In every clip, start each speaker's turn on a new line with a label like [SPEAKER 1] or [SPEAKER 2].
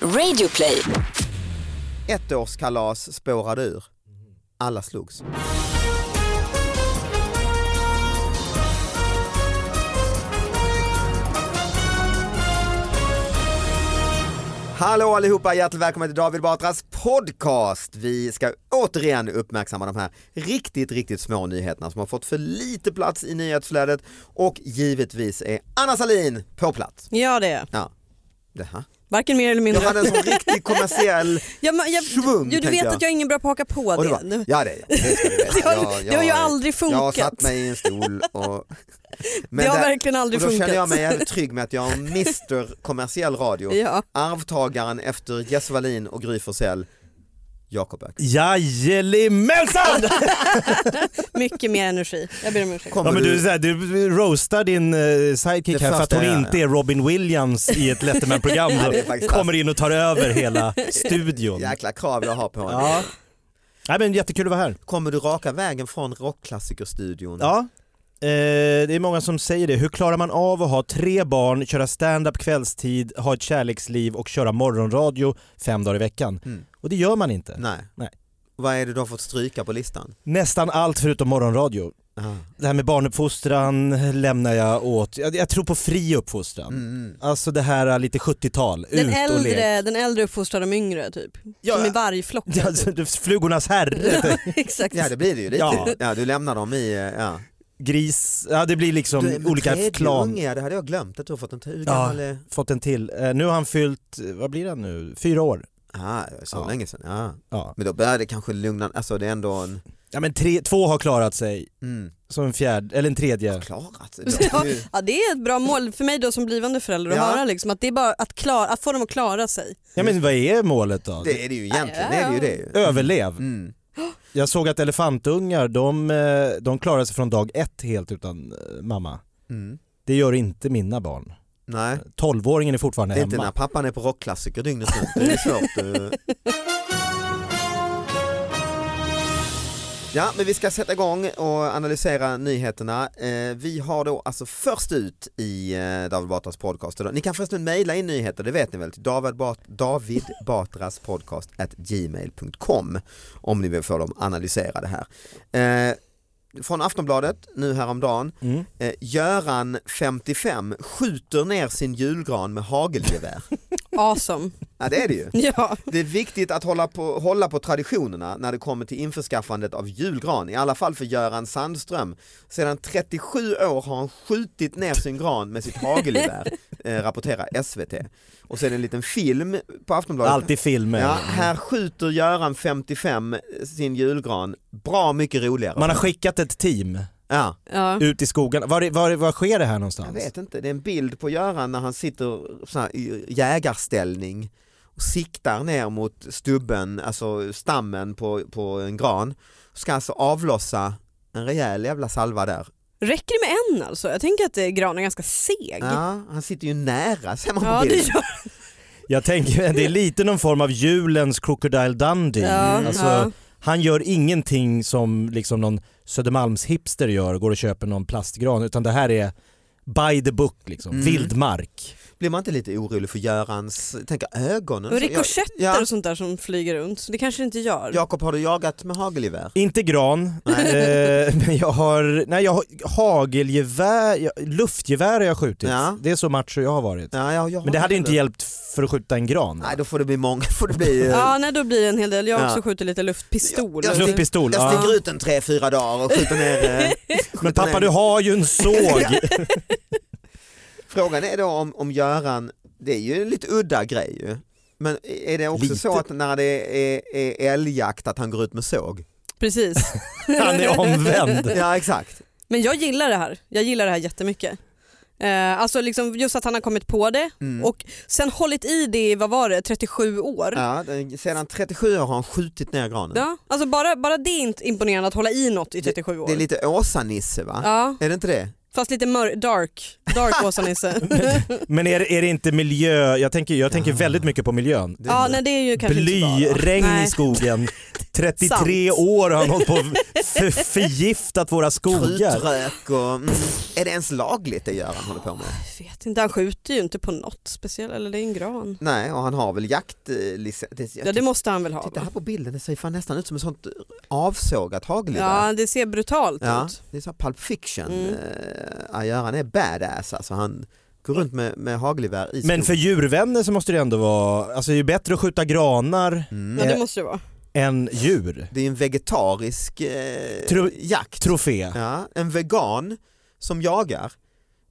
[SPEAKER 1] Radioplay.
[SPEAKER 2] Ettårskalas spårade ur. Alla slogs. Hallå allihopa, hjärtligt välkomna till David Batras podcast. Vi ska återigen uppmärksamma de här riktigt, riktigt små nyheterna som har fått för lite plats i nyhetsflödet och givetvis är Anna Salin på plats.
[SPEAKER 3] Ja det är
[SPEAKER 2] Ja, det här.
[SPEAKER 3] Varken mer eller
[SPEAKER 2] Jag
[SPEAKER 3] mindre.
[SPEAKER 2] hade en sån riktig kommersiell
[SPEAKER 3] Ja, men jag,
[SPEAKER 2] schvung,
[SPEAKER 3] jo, du vet
[SPEAKER 2] tänkte
[SPEAKER 3] att jag är ingen bra på att haka på
[SPEAKER 2] Och
[SPEAKER 3] det.
[SPEAKER 2] det var, ja det, det ska du veta.
[SPEAKER 3] Det har-
[SPEAKER 2] Jag-
[SPEAKER 3] det har ju
[SPEAKER 2] jag-
[SPEAKER 3] aldrig
[SPEAKER 2] Jag har
[SPEAKER 3] funkat.
[SPEAKER 2] satt mig i en stol och... Men
[SPEAKER 3] det har
[SPEAKER 2] där-
[SPEAKER 3] verkligen aldrig
[SPEAKER 2] och då
[SPEAKER 3] funkat.
[SPEAKER 2] känner jag mig jävligt trygg med att jag är Mr kommersiell radio,
[SPEAKER 3] Ja.
[SPEAKER 2] arvtagaren efter Jess Wallin och Gry Forssell, Jakob Öqvist.
[SPEAKER 4] Jajamensan!
[SPEAKER 3] Mycket mer energi. Jag ber om ursäkt.
[SPEAKER 4] Ja,
[SPEAKER 2] Kommer
[SPEAKER 4] men du,
[SPEAKER 2] du,
[SPEAKER 4] så här, du roastar din eh, sidekick
[SPEAKER 2] Det
[SPEAKER 4] här för att
[SPEAKER 2] första
[SPEAKER 4] hon
[SPEAKER 2] jag
[SPEAKER 4] inte är Robin Williams i ett Letterman-program
[SPEAKER 2] det är faktiskt
[SPEAKER 4] och kommer in och tar över hela studion.
[SPEAKER 2] jäkla krav jag har på honom.
[SPEAKER 4] Ja. Nej, men jättekul att vara här.
[SPEAKER 2] Kommer du raka vägen från rockklassikerstudion?
[SPEAKER 4] Ja. Eh, det är många som säger det. Hur klarar man av att ha tre barn, köra stand-up kvällstid, ha ett kärleksliv och köra morgonradio fem dagar i veckan?
[SPEAKER 2] Mm.
[SPEAKER 4] Och det gör man inte.
[SPEAKER 2] Nej.
[SPEAKER 4] Nej.
[SPEAKER 2] Vad är det du har fått stryka på listan?
[SPEAKER 4] Nästan allt förutom morgonradio.
[SPEAKER 2] Ah.
[SPEAKER 4] Det här med barnuppfostran lämnar jag åt. Jag, jag tror på fri uppfostran.
[SPEAKER 2] Mm.
[SPEAKER 4] Alltså det här är lite 70-tal,
[SPEAKER 3] Den
[SPEAKER 4] ut och lek.
[SPEAKER 3] äldre, den äldre uppfostrar de yngre typ.
[SPEAKER 4] Ja,
[SPEAKER 3] Som i vargflockar.
[SPEAKER 4] ja, alltså, det- Flugornas herre,
[SPEAKER 3] Exakt.
[SPEAKER 2] Ja det blir det ju lite. Ja.
[SPEAKER 4] Ja.
[SPEAKER 2] du lämnar dem i, eh, ja.
[SPEAKER 4] gris, ja det blir liksom
[SPEAKER 2] du, men
[SPEAKER 4] olika
[SPEAKER 2] tredje
[SPEAKER 4] klan.
[SPEAKER 2] Unge, ja, det hade jag glömt att du har fått en hur
[SPEAKER 4] Ja.
[SPEAKER 2] gammal är-
[SPEAKER 4] Fått en till. Eh, nu har han fyllt, eh, vad blir han nu, fyra år?
[SPEAKER 2] Ah, det var så
[SPEAKER 4] Ja.
[SPEAKER 2] länge sedan. Ja.
[SPEAKER 4] Ja,
[SPEAKER 2] Men då börjar det kanske lugna, alltså det är ändå en,
[SPEAKER 4] ja men tre, två har klarat sig,
[SPEAKER 2] mm,
[SPEAKER 4] som en fjärde, eller en tredje.
[SPEAKER 2] klarat.
[SPEAKER 3] Ja, ja, det är ett bra mål för mig då som blivande förälder att
[SPEAKER 2] Mm. Ja.
[SPEAKER 3] höra liksom, att det är bara att, klara, att få dem att klara sig.
[SPEAKER 4] Ja men vad är målet då?
[SPEAKER 2] Det är det ju egentligen, det är det ju det. ju.
[SPEAKER 4] Överlev.
[SPEAKER 2] Mm.
[SPEAKER 4] Jag såg att elefantungar, de, eh, de klarar sig från dag ett helt utan eh, mamma.
[SPEAKER 2] Mm.
[SPEAKER 4] Det gör inte mina barn.
[SPEAKER 2] Nej,
[SPEAKER 4] Tolvåringen är fortfarande
[SPEAKER 2] det är inte när
[SPEAKER 4] hemma.
[SPEAKER 2] pappan är på rockklassiker dygnet runt, det är svårt. eh. Ja, men vi ska sätta igång och analysera nyheterna. Eh, vi har då alltså först ut i eh, David Batras podcast. idag. Ni kan förresten mejla in nyheter, det vet ni väl, till David, Bat- David Batras podcast at gmail.com om ni vill få dem analyserade här. Eh, från Aftonbladet nu häromdagen.
[SPEAKER 4] Mm.
[SPEAKER 2] Eh, Göran, 55, skjuter ner sin julgran med hagelgevär.
[SPEAKER 3] Awesome.
[SPEAKER 2] ja, det är det ju.
[SPEAKER 3] Ja.
[SPEAKER 2] Det är viktigt att hålla på, hålla på traditionerna när det kommer till införskaffandet av julgran, i alla fall för Göran Sandström. Sedan 37 år har han skjutit ner sin gran med sitt hagelgevär, eh, rapporterar SVT. Och sen en liten film på Aftonbladet.
[SPEAKER 4] Alltid filmer.
[SPEAKER 2] Ja, här skjuter Göran, 55, sin julgran. Bra mycket roligare.
[SPEAKER 4] Man har skickat ett team
[SPEAKER 2] ja.
[SPEAKER 3] Ja.
[SPEAKER 4] ut i skogen. Var, var, var sker det här någonstans?
[SPEAKER 2] Jag vet inte, det är en bild på Göran när han sitter så här, i jägarställning och siktar ner mot stubben, alltså stammen på, på en gran. Ska alltså avlossa en rejäl jävla salva där.
[SPEAKER 3] Räcker det med en alltså? Jag tänker att eh, granen är ganska seg.
[SPEAKER 2] Ja, han sitter ju nära ser man på
[SPEAKER 3] Ja, det
[SPEAKER 2] bilden.
[SPEAKER 3] gör
[SPEAKER 4] Jag tänker det är lite någon form av julens Crocodile Dundee.
[SPEAKER 3] Ja,
[SPEAKER 4] alltså,
[SPEAKER 3] ja.
[SPEAKER 4] Han gör ingenting som liksom någon Södermalmshipster gör, går och köper någon plastgran, utan det här är by the book, liksom.
[SPEAKER 2] Mm.
[SPEAKER 4] vildmark.
[SPEAKER 2] Blir man inte lite orolig för Görans, tänk ögonen?
[SPEAKER 3] Och
[SPEAKER 2] Så-
[SPEAKER 3] rikoschetter
[SPEAKER 2] Ja,
[SPEAKER 3] och sånt där som flyger runt. Så det kanske det inte gör.
[SPEAKER 2] Jakob, har du jagat med hagelgevär?
[SPEAKER 4] Inte gran, eh, men jag har, nej, jag har hagelgevär, jag, luftgevär har jag skjutit.
[SPEAKER 2] Ja.
[SPEAKER 4] Det är så macho jag har varit.
[SPEAKER 2] Ja, ja, jag har
[SPEAKER 4] Men det hade
[SPEAKER 2] inte
[SPEAKER 4] inte hjälpt för att skjuta en gran.
[SPEAKER 2] Nej, då får det bli många, får det bli... eh,
[SPEAKER 3] Ja, nej, då blir det en hel del. Jag har
[SPEAKER 2] Ja.
[SPEAKER 3] också skjutit lite luftpistol.
[SPEAKER 2] Jag- jag-
[SPEAKER 4] Luftpistol.
[SPEAKER 2] Jag
[SPEAKER 4] Ja.
[SPEAKER 2] sticker ut en tre, fyra dagar och skjuter ner... eh,
[SPEAKER 4] Men
[SPEAKER 2] skjuter
[SPEAKER 4] pappa
[SPEAKER 2] ner.
[SPEAKER 4] du har ju en såg.
[SPEAKER 2] Frågan är då om, om Göran, det är ju en lite udda grej ju. Men är det också
[SPEAKER 4] Lite.
[SPEAKER 2] så att när det är, är älgjakt att han går ut med såg?
[SPEAKER 3] Precis.
[SPEAKER 4] Han är omvänd.
[SPEAKER 2] Ja exakt.
[SPEAKER 3] Men jag gillar det här. Jag gillar det här jättemycket. Eh, alltså liksom just att han har kommit på det
[SPEAKER 2] Mm.
[SPEAKER 3] och sen hållit i det i, vad var det, 37 år. Ja.
[SPEAKER 2] Ja, den- sedan 37 år har han skjutit ner granen.
[SPEAKER 3] Alltså bara, bara det är inte imponerande att hålla i något i 37 år.
[SPEAKER 2] Det är lite Åsa-Nisse va?
[SPEAKER 3] ja,
[SPEAKER 2] Är det inte det?
[SPEAKER 3] fast lite mör- dark, dark Åsa-Nisse.
[SPEAKER 4] Men är, är det inte miljö, jag tänker, jag tänker
[SPEAKER 2] Ja.
[SPEAKER 4] väldigt mycket på miljön.
[SPEAKER 2] Ah. det
[SPEAKER 3] ja,
[SPEAKER 2] är-
[SPEAKER 3] nej det är ju kanske inte så bra. då.
[SPEAKER 4] Blyregn
[SPEAKER 3] Nej.
[SPEAKER 4] i skogen, 33
[SPEAKER 3] Sant.
[SPEAKER 4] år har han hållit på och för- förgiftat våra skogar.
[SPEAKER 2] Krutrök och... Mm. Är det ens lagligt det Göran håller på med?
[SPEAKER 3] Jag vet inte, han skjuter ju inte på något speciellt, eller det är en gran.
[SPEAKER 2] Nej, och han har väl eh, jaktlicens?
[SPEAKER 3] Ja det måste han väl ha.
[SPEAKER 2] Titta
[SPEAKER 3] va?
[SPEAKER 2] här på bilden, det ser ju fan nästan ut som ett sånt avsågat hagelgevär.
[SPEAKER 3] Ja det ser brutalt
[SPEAKER 2] Ja,
[SPEAKER 3] ut.
[SPEAKER 2] det är så här Pulp Fiction.
[SPEAKER 3] Mm.
[SPEAKER 2] Eh, Göran är badass alltså. Han går runt med, med hagelgevär i
[SPEAKER 4] Men
[SPEAKER 2] skogen.
[SPEAKER 4] för djurvänner så måste det ändå vara, alltså det är ju bättre att skjuta granar
[SPEAKER 2] Mm.
[SPEAKER 3] Ja
[SPEAKER 4] Eh,
[SPEAKER 3] det måste det vara.
[SPEAKER 4] än djur.
[SPEAKER 2] Det är en vegetarisk eh,
[SPEAKER 4] Tro-
[SPEAKER 2] jakt.
[SPEAKER 4] Trofé.
[SPEAKER 2] Ja, en vegan som jagar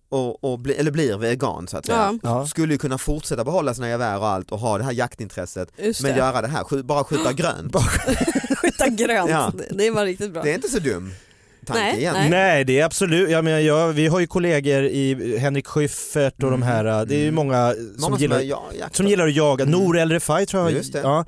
[SPEAKER 2] och, och bli, eller blir vegan så att säga.
[SPEAKER 4] Ja.
[SPEAKER 2] Skulle ju kunna fortsätta behålla sina gevär och allt och ha det här jaktintresset
[SPEAKER 3] Just
[SPEAKER 2] men
[SPEAKER 3] det.
[SPEAKER 2] göra det här, skj- bara skjuta grönt.
[SPEAKER 3] Skjuta grönt,
[SPEAKER 2] Ja.
[SPEAKER 3] det, det var riktigt bra.
[SPEAKER 2] Det är inte så dum tanke
[SPEAKER 3] Nej,
[SPEAKER 2] egentligen.
[SPEAKER 4] Nej. det är absolut, jag menar, jag, vi har ju kollegor i Henrik Schyffert och de här, eh, det är ju
[SPEAKER 2] Mm.
[SPEAKER 4] många eh, som,
[SPEAKER 2] Många som,
[SPEAKER 4] gillar,
[SPEAKER 2] är ja- jakt-
[SPEAKER 4] som gillar att jaga,
[SPEAKER 2] Mm.
[SPEAKER 4] Nour El Refai tror jag,
[SPEAKER 2] Just det.
[SPEAKER 4] Ja,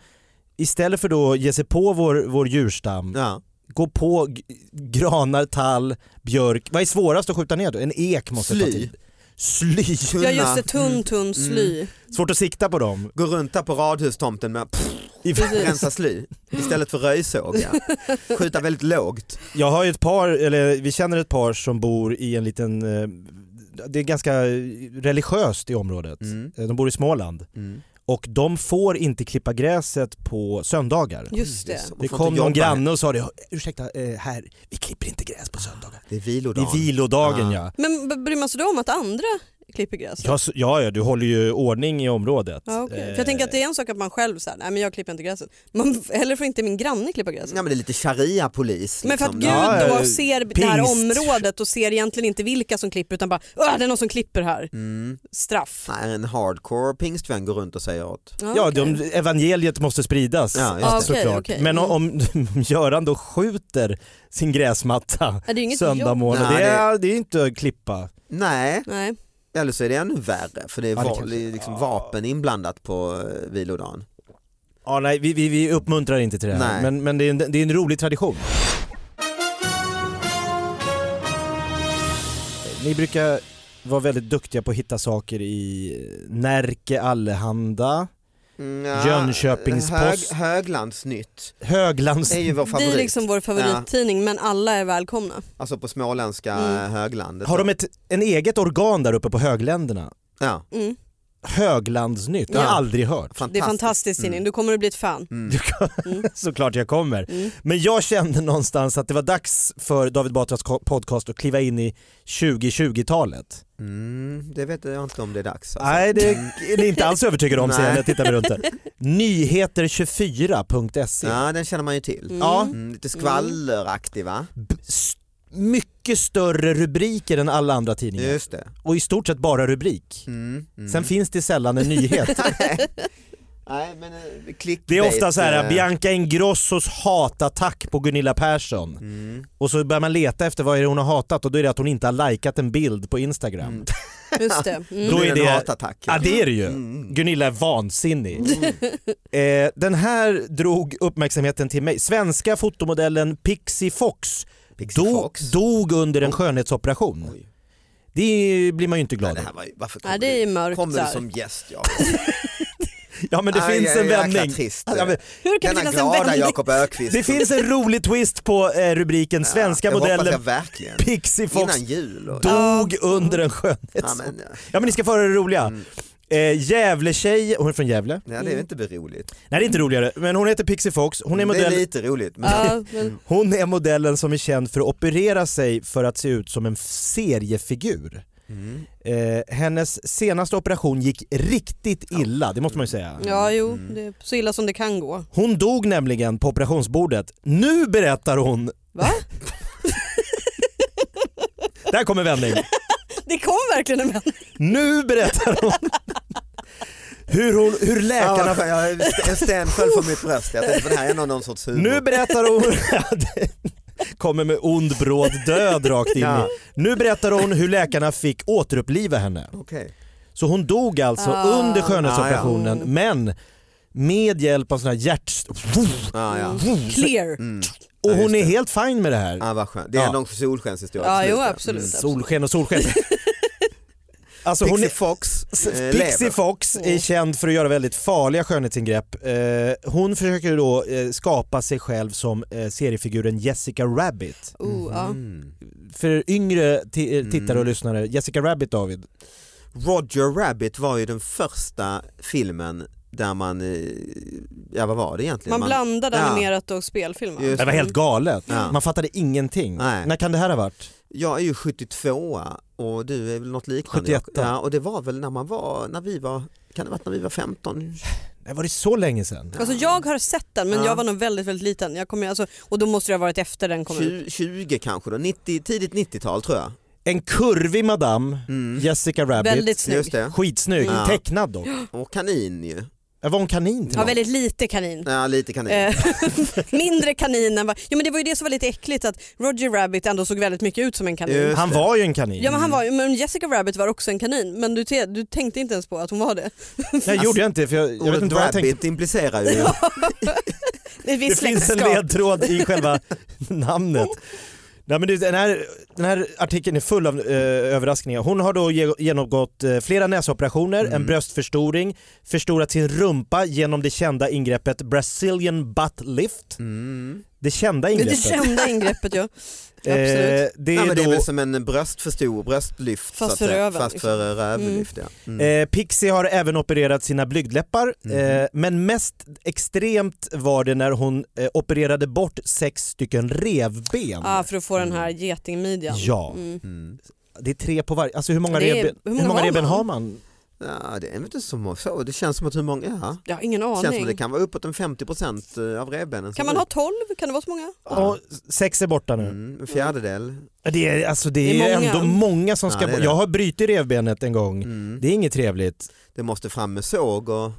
[SPEAKER 4] istället för då att ge sig på vår, vår djurstam,
[SPEAKER 2] Ja.
[SPEAKER 4] gå på g- granar, tall, björk, vad är svårast att skjuta ner då? En ek måste ta
[SPEAKER 2] Sly.
[SPEAKER 4] till. Sly,
[SPEAKER 3] Ja
[SPEAKER 2] Kunna
[SPEAKER 3] just det,
[SPEAKER 2] Mm.
[SPEAKER 3] tunn tunn sly.
[SPEAKER 4] svårt att sikta på dem.
[SPEAKER 2] gå runt där på radhustomten med pff,
[SPEAKER 4] I-
[SPEAKER 2] rensa sly istället för röjsåg. Ja. Skjuta väldigt lågt.
[SPEAKER 4] Jag har ju ett par, eller vi känner ett par som bor i en liten, eh, det är ganska religiöst i området.
[SPEAKER 2] Mm.
[SPEAKER 4] Eh, De bor i Småland
[SPEAKER 2] Mm.
[SPEAKER 4] och de får inte klippa gräset på söndagar.
[SPEAKER 3] Just det.
[SPEAKER 2] Man
[SPEAKER 4] Det
[SPEAKER 2] får
[SPEAKER 4] kom
[SPEAKER 2] inte
[SPEAKER 4] någon
[SPEAKER 2] jobba.
[SPEAKER 4] granne och sa det, ursäkta eh, här, vi klipper inte gräs på söndagar.
[SPEAKER 2] Det är
[SPEAKER 4] Det
[SPEAKER 2] vilodagen.
[SPEAKER 4] är vilodagen
[SPEAKER 2] Ah.
[SPEAKER 4] ja.
[SPEAKER 3] Men b- bryr man sig då om att andra klipper gräset?
[SPEAKER 4] Ja, så- ja, ja, du håller ju ordning i området.
[SPEAKER 3] Ja, okej. För
[SPEAKER 4] Eh,
[SPEAKER 3] jag tänker att det är en sak att man själv säger nej men jag klipper inte gräset. Man, eller får inte min granne klippa
[SPEAKER 2] Ja,
[SPEAKER 3] gräset.
[SPEAKER 2] men det är lite sharia-polis.
[SPEAKER 3] men för att
[SPEAKER 2] liksom.
[SPEAKER 3] Gud
[SPEAKER 4] Ja,
[SPEAKER 3] då
[SPEAKER 4] eh,
[SPEAKER 3] ser det här
[SPEAKER 4] pingst.
[SPEAKER 3] området och ser egentligen inte vilka som klipper utan bara "Åh, det är någon som klipper här.
[SPEAKER 2] Mm.
[SPEAKER 3] Straff.
[SPEAKER 2] Nej, en hardcore pingstvän går runt och säger åt.
[SPEAKER 4] Ja,
[SPEAKER 3] okej.
[SPEAKER 4] de, evangeliet måste spridas
[SPEAKER 2] Ja, just det.
[SPEAKER 4] såklart.
[SPEAKER 3] Okej, okej.
[SPEAKER 4] Men
[SPEAKER 3] Mm.
[SPEAKER 4] om, om Göran då skjuter sin gräsmatta
[SPEAKER 3] Är det är inget
[SPEAKER 4] söndag
[SPEAKER 3] jobb.
[SPEAKER 4] morgon,
[SPEAKER 2] Nej,
[SPEAKER 4] det, är, det är inte att klippa.
[SPEAKER 2] Nej,
[SPEAKER 3] Nej.
[SPEAKER 2] eller så är det ännu värre för det är
[SPEAKER 4] Ja, det
[SPEAKER 2] va-
[SPEAKER 4] kanske-
[SPEAKER 2] det är liksom vapen inblandat på eh, vilodagen.
[SPEAKER 4] Ja, nej, vi, vi, vi uppmuntrar inte till det här,
[SPEAKER 2] Nej.
[SPEAKER 4] men, men det, är en, det är en rolig tradition. Ni brukar vara väldigt duktiga på att hitta saker i Närke Allehanda,
[SPEAKER 2] Nja,
[SPEAKER 4] Jönköpingspost.
[SPEAKER 2] Hög, Höglandsnytt
[SPEAKER 4] Höglands...
[SPEAKER 2] är ju vår
[SPEAKER 3] Det
[SPEAKER 2] favorit.
[SPEAKER 3] är liksom vår favorittidning men alla är välkomna.
[SPEAKER 2] Alltså på småländska
[SPEAKER 3] Mm.
[SPEAKER 2] eh, höglandet.
[SPEAKER 4] Har de ett en eget organ där uppe på Högländerna?
[SPEAKER 2] Ja,
[SPEAKER 3] Mm.
[SPEAKER 4] Höglandsnytt, det har jag
[SPEAKER 2] Ja.
[SPEAKER 4] aldrig hört.
[SPEAKER 2] fantastiskt.
[SPEAKER 3] Det är fantastisk tidning,
[SPEAKER 2] Mm.
[SPEAKER 3] du kommer att bli ett fan.
[SPEAKER 2] Mm.
[SPEAKER 4] Såklart jag kommer.
[SPEAKER 3] Mm.
[SPEAKER 4] Men jag kände någonstans att det var dags för David Batras ko- podcast att kliva in i 2020-talet.
[SPEAKER 2] Mm, det vet jag inte om det är dags. Alltså.
[SPEAKER 4] Nej, det är ni inte alls övertygad om ser jag när jag
[SPEAKER 2] Nej.
[SPEAKER 4] tittar mig runt här. Nyheter24.se.
[SPEAKER 2] Ja, den känner man ju till.
[SPEAKER 3] Mm.
[SPEAKER 4] Ja.
[SPEAKER 2] Mm, lite skvalleraktig va?
[SPEAKER 4] B- s- mycket större rubriker än alla andra tidningar
[SPEAKER 2] Just det.
[SPEAKER 4] och i stort sett bara rubrik.
[SPEAKER 2] Mm. Mm.
[SPEAKER 4] Sen finns det sällan en nyhet.
[SPEAKER 2] Nej, men eh,
[SPEAKER 4] Det är
[SPEAKER 2] clickbait,
[SPEAKER 4] ofta så här
[SPEAKER 2] eh,
[SPEAKER 4] Bianca Ingrossos hatattack på Gunilla Persson
[SPEAKER 2] Mm.
[SPEAKER 4] och så börjar man leta efter vad är det hon har hatat och då är det att hon inte har likat en bild på Instagram.
[SPEAKER 2] Mm.
[SPEAKER 3] Just det. Mm.
[SPEAKER 4] Då
[SPEAKER 2] Då
[SPEAKER 4] är
[SPEAKER 2] är det
[SPEAKER 4] det-
[SPEAKER 2] en hatattack.
[SPEAKER 4] Ja det är det ju.
[SPEAKER 2] Mm.
[SPEAKER 4] Gunilla är vansinnig. Eh, den här drog uppmärksamheten till mig. Svenska fotomodellen Pixie Fox,
[SPEAKER 2] Pixie
[SPEAKER 4] do-
[SPEAKER 2] Fox. Oh.
[SPEAKER 4] dog under en skönhetsoperation.
[SPEAKER 2] Oj.
[SPEAKER 4] Det blir man ju inte
[SPEAKER 2] Nej,
[SPEAKER 4] glad
[SPEAKER 2] det
[SPEAKER 4] av.
[SPEAKER 2] här var ju, varför kom
[SPEAKER 3] Nej, det är
[SPEAKER 2] du,
[SPEAKER 3] mörkt
[SPEAKER 2] kom du
[SPEAKER 3] där.
[SPEAKER 2] som gäst? Ja.
[SPEAKER 4] Ja men det
[SPEAKER 2] Aj,
[SPEAKER 4] finns
[SPEAKER 2] aj,
[SPEAKER 4] en
[SPEAKER 2] jäkla
[SPEAKER 4] vändning.
[SPEAKER 2] trist.
[SPEAKER 4] Ja, men
[SPEAKER 3] Hur kan det
[SPEAKER 2] Denna
[SPEAKER 3] finnas en
[SPEAKER 2] glada
[SPEAKER 3] vändning?
[SPEAKER 2] Jakob Ökvist.
[SPEAKER 4] det finns en rolig twist på eh, rubriken
[SPEAKER 2] Ja,
[SPEAKER 4] Svenska
[SPEAKER 2] Det hoppas
[SPEAKER 4] modellen
[SPEAKER 2] jag verkligen.
[SPEAKER 4] Pixie Fox
[SPEAKER 2] Innan jul. Och...
[SPEAKER 4] dog under en
[SPEAKER 2] Ja,
[SPEAKER 4] skönhetsoperation.
[SPEAKER 2] men, eh,
[SPEAKER 4] Ja men ni ska få höra det roliga.
[SPEAKER 2] Mm.
[SPEAKER 4] Eh, Gävletjej, hon är från Gävle.
[SPEAKER 2] nej, det är inte roligt.
[SPEAKER 4] Nej det är inte roligare, men hon heter Pixie Fox. Hon är
[SPEAKER 2] Mm. det är
[SPEAKER 4] modell
[SPEAKER 2] lite roligt. Men...
[SPEAKER 3] Ja, men,
[SPEAKER 4] Hon är modellen som är känd för att operera sig för att se ut som en f- seriefigur.
[SPEAKER 2] Mm.
[SPEAKER 4] Eh, hennes senaste operation gick riktigt illa, det måste man ju säga.
[SPEAKER 3] ja
[SPEAKER 2] Mm.
[SPEAKER 3] jo, det är så illa som det kan gå.
[SPEAKER 4] Hon dog nämligen på operationsbordet. Nu berättar hon...
[SPEAKER 3] Va?
[SPEAKER 4] Där kommer vändning.
[SPEAKER 3] Det kom verkligen en vändning.
[SPEAKER 4] Nu berättar hon hur, hon, hur
[SPEAKER 2] Ja,
[SPEAKER 4] läkarna...
[SPEAKER 2] vad skönt. Jag- en sten föll från mitt bröst. Jag tänkte på det här är någon, någon sorts humor.
[SPEAKER 4] Nu berättar hon... kommer med ond bråd död rakt in
[SPEAKER 2] Ja.
[SPEAKER 4] i. Nu berättar hon hur läkarna fick återuppliva henne.
[SPEAKER 2] Okej.
[SPEAKER 4] Så hon dog alltså under skönhetsoperationen
[SPEAKER 3] Ah, ja.
[SPEAKER 4] men med hjälp av sån här hjärt...
[SPEAKER 2] Ja, Ah, ja.
[SPEAKER 3] Clear.
[SPEAKER 2] Mm. Ja,
[SPEAKER 4] Och
[SPEAKER 2] just
[SPEAKER 4] hon är
[SPEAKER 2] det. Ah,
[SPEAKER 4] helt fin med det här.
[SPEAKER 2] Ja, vad skönt. Det är
[SPEAKER 4] Ja.
[SPEAKER 2] någon solskenshistoria.
[SPEAKER 3] Ja,
[SPEAKER 2] till
[SPEAKER 3] jo
[SPEAKER 2] slut,
[SPEAKER 3] absolut. absolut.
[SPEAKER 4] Solsken och solsken. Alltså hon
[SPEAKER 2] Pixie
[SPEAKER 4] är,
[SPEAKER 2] Fox
[SPEAKER 4] S-
[SPEAKER 2] eh,
[SPEAKER 4] Pixie
[SPEAKER 2] lever.
[SPEAKER 4] Fox är
[SPEAKER 3] Mm.
[SPEAKER 4] känd för att göra väldigt farliga skönhetsingrepp. Eh, Hon försöker ju då eh, skapa sig själv som eh, seriefiguren Jessica Rabbit.
[SPEAKER 3] Oh, ja.
[SPEAKER 2] Mhm.
[SPEAKER 4] För yngre ti- eh, tittare och
[SPEAKER 2] Mm.
[SPEAKER 4] lyssnare, Jessica Rabbit David.
[SPEAKER 2] Roger Rabbit var ju den första filmen där man, eh, ja vad var det egentligen?
[SPEAKER 3] Man blandade
[SPEAKER 2] Ja.
[SPEAKER 3] animerat och spelfilm va?
[SPEAKER 2] Just
[SPEAKER 4] Det var helt galet.
[SPEAKER 2] Ja.
[SPEAKER 4] Man fattade ingenting.
[SPEAKER 2] Nej.
[SPEAKER 4] När kan det här ha varit?
[SPEAKER 2] Jag är ju 72 och du är väl något liknande.
[SPEAKER 4] 71.
[SPEAKER 2] Ja, och det var väl när man var, när vi var, kan det ha varit när vi var 15?
[SPEAKER 4] Det var det så länge sedan?
[SPEAKER 3] Alltså jag har sett den men
[SPEAKER 2] Ja.
[SPEAKER 3] jag var nog väldigt väldigt liten. Jag kommer, alltså, och då måste det ha varit efter den kom ut.
[SPEAKER 2] 20, 20 kanske då, 90, tidigt 90-tal tror jag.
[SPEAKER 4] En kurvig madam,
[SPEAKER 2] Mm.
[SPEAKER 4] Jessica Rabbit,
[SPEAKER 3] Väldigt snygg.
[SPEAKER 2] Just det.
[SPEAKER 4] skitsnygg,
[SPEAKER 2] Mm.
[SPEAKER 4] tecknad dock.
[SPEAKER 2] Och kanin ju.
[SPEAKER 4] Jag var en kanin till
[SPEAKER 3] Ja,
[SPEAKER 4] någon.
[SPEAKER 3] väldigt lite kanin.
[SPEAKER 2] Ja, lite kanin.
[SPEAKER 3] Eh, Mindre kanin än vad... Jo men det var ju det som var lite äckligt att Roger Rabbit ändå såg väldigt mycket ut som en kanin.
[SPEAKER 2] Just
[SPEAKER 4] Han
[SPEAKER 2] det.
[SPEAKER 4] var ju en kanin.
[SPEAKER 3] Ja men, han var, ju- men Jessica Rabbit var också en kanin men du, te, du tänkte inte ens på att hon var det.
[SPEAKER 4] Nej gjorde jag inte för jag, jag vet
[SPEAKER 2] Ordet
[SPEAKER 4] inte vad jag
[SPEAKER 2] rabbit
[SPEAKER 4] tänkte.
[SPEAKER 2] implicerar ju
[SPEAKER 3] Det, är
[SPEAKER 4] Det
[SPEAKER 3] visst
[SPEAKER 4] finns en
[SPEAKER 3] släktskap.
[SPEAKER 4] ledtråd i själva namnet. Nej, men det- den, här, den här artikeln är full av eh, överraskningar. Hon har då ge- genomgått eh, flera näsoperationer, en
[SPEAKER 3] Mm.
[SPEAKER 4] bröstförstoring, förstorat sin rumpa genom det kända ingreppet Brazilian butt lift.
[SPEAKER 2] Mm.
[SPEAKER 4] Det kända
[SPEAKER 3] Det är
[SPEAKER 4] ingreppet.
[SPEAKER 3] det kända ingreppet ja. Absolut.
[SPEAKER 4] Eh, det
[SPEAKER 2] Nej,
[SPEAKER 4] är
[SPEAKER 2] men det är
[SPEAKER 4] då,
[SPEAKER 2] väl som en bröstförstor, bröstlyft
[SPEAKER 3] Fast
[SPEAKER 2] så
[SPEAKER 3] för
[SPEAKER 2] att säga.
[SPEAKER 3] röven,
[SPEAKER 2] Fast
[SPEAKER 3] liksom.
[SPEAKER 2] för rövlyft ja. Mm. Mhm.
[SPEAKER 4] eh, Pixie har även opererat sina blygdläppar, eh, men mest extremt var det när hon eh, opererade bort sex stycken revben.
[SPEAKER 3] Ah, för att få den här getingmidjan.
[SPEAKER 4] Mm. Ja.
[SPEAKER 3] Mm.
[SPEAKER 2] Mm.
[SPEAKER 4] Det är tre på varje, alltså hur många,
[SPEAKER 3] Det är-
[SPEAKER 4] revben,
[SPEAKER 3] hur
[SPEAKER 4] hur
[SPEAKER 3] många
[SPEAKER 4] många
[SPEAKER 3] har
[SPEAKER 4] revben
[SPEAKER 3] man?
[SPEAKER 4] har man?
[SPEAKER 2] Ja, det är väl inte så många, så. det känns som att hur många, ja.
[SPEAKER 3] Jag har ingen
[SPEAKER 2] Det
[SPEAKER 3] aning.
[SPEAKER 2] känns som att det kan vara uppåt en 50% av revbenen. som
[SPEAKER 3] Kan man
[SPEAKER 2] går
[SPEAKER 3] ha
[SPEAKER 2] ut.
[SPEAKER 3] 12? Kan det vara så många?
[SPEAKER 2] Ja.
[SPEAKER 4] Och sex är borta nu.
[SPEAKER 2] Mm, en fjärdedel.
[SPEAKER 4] Det är, alltså, det
[SPEAKER 3] Det
[SPEAKER 4] är,
[SPEAKER 3] är många.
[SPEAKER 4] ändå många som
[SPEAKER 2] Ja,
[SPEAKER 4] ska
[SPEAKER 2] det är
[SPEAKER 4] bort.
[SPEAKER 2] det.
[SPEAKER 4] Jag har brutit revbenet en gång.
[SPEAKER 2] Mm.
[SPEAKER 4] Det är inget trevligt.
[SPEAKER 2] Det måste fram med såg och...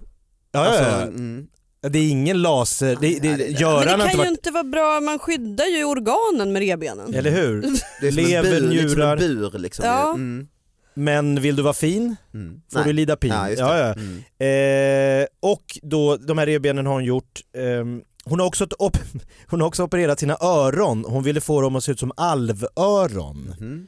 [SPEAKER 4] Ja,
[SPEAKER 2] alltså,
[SPEAKER 4] ja,
[SPEAKER 2] mm.
[SPEAKER 4] ja. Det är ingen laser. Det, det,
[SPEAKER 2] Ja, det är det.
[SPEAKER 4] Göran
[SPEAKER 3] Men det
[SPEAKER 4] har
[SPEAKER 3] kan
[SPEAKER 4] inte
[SPEAKER 3] ju
[SPEAKER 4] varit...
[SPEAKER 3] inte vara bra, man skyddar ju organen med revbenen.
[SPEAKER 4] Eller hur?
[SPEAKER 2] Det är som
[SPEAKER 4] Lever,
[SPEAKER 2] en bur, lite som
[SPEAKER 4] njurar.
[SPEAKER 2] en bur liksom.
[SPEAKER 3] Ja.
[SPEAKER 2] Mm.
[SPEAKER 4] Men vill du vara fin
[SPEAKER 2] Mm.
[SPEAKER 4] får
[SPEAKER 2] Nej.
[SPEAKER 4] du lida pin.
[SPEAKER 2] Ja, just
[SPEAKER 4] Ja,
[SPEAKER 2] det.
[SPEAKER 4] ja.
[SPEAKER 2] Mm.
[SPEAKER 4] Eh, och då, de här revbenen har hon gjort. ehm, hon, har också ett op- hon har också opererat sina öron. Hon ville få dem att se ut som alvöron.
[SPEAKER 2] Mhm.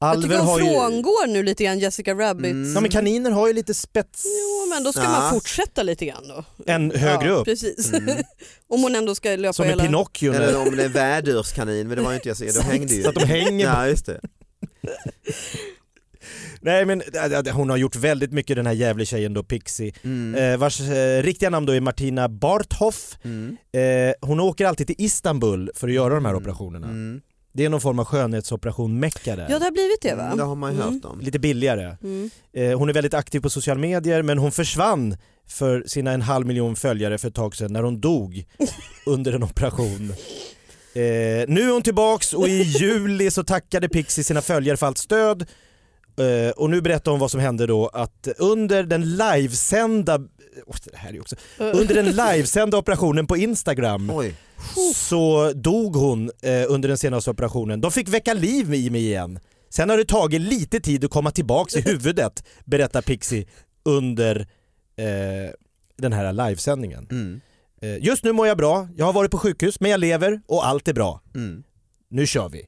[SPEAKER 3] Jag tycker
[SPEAKER 4] Alver
[SPEAKER 3] hon
[SPEAKER 4] har ju...
[SPEAKER 3] frångår nu lite grann Jessica Rabbit.
[SPEAKER 2] Mm.
[SPEAKER 4] Ja, men kaniner har ju lite spets...
[SPEAKER 3] Jo men då ska
[SPEAKER 2] Ja.
[SPEAKER 3] man fortsätta lite grann då.
[SPEAKER 4] En högre
[SPEAKER 3] Mm. ja,
[SPEAKER 4] upp.
[SPEAKER 3] Precis.
[SPEAKER 2] Mm.
[SPEAKER 3] Om hon ändå ska löpa
[SPEAKER 4] Som en
[SPEAKER 3] hela...
[SPEAKER 4] Pinocchio. när-
[SPEAKER 2] Eller om det är en vädurskanin, men det var ju inte jag, så- de hängde ju.
[SPEAKER 4] Så att de hänger
[SPEAKER 2] Ja, just det.
[SPEAKER 4] Nej men äh, äh, hon har gjort väldigt mycket den här jävla tjejen då, Pixie.
[SPEAKER 2] Mm.
[SPEAKER 4] Eh, Vars eh, riktiga namn då är Martina Barthoff.
[SPEAKER 2] Mm.
[SPEAKER 4] Eh, Hon åker alltid till Istanbul för att göra de här operationerna.
[SPEAKER 2] Mm.
[SPEAKER 4] Det är någon form av skönhetsoperation mecka där.
[SPEAKER 3] Ja det har blivit det va?
[SPEAKER 2] Mm, Det har man ju
[SPEAKER 3] Mm.
[SPEAKER 2] hört om.
[SPEAKER 4] Lite billigare.
[SPEAKER 3] Mm.
[SPEAKER 4] Eh, Hon är väldigt aktiv på sociala medier men hon försvann för sina en halv miljon följare för ett tag sedan när hon dog under en operation. Eh, nu är hon tillbaks och i juli så tackade Pixie sina följare för allt stöd. Eh, och nu berättar hon vad som hände då att under den livesända Åh, det här är ju också. Under den livesända operationen på Instagram
[SPEAKER 2] Oj.
[SPEAKER 4] så dog hon eh, under den senaste operationen. De fick väcka liv i mig igen. Sen har det tagit lite tid att komma tillbaks i huvudet, berättar Pixie under eh, den här livesändningen.
[SPEAKER 2] Mm.
[SPEAKER 4] Eh, just nu mår jag bra, jag har varit på sjukhus men jag lever och allt är bra.
[SPEAKER 2] Mm.
[SPEAKER 4] Nu kör vi!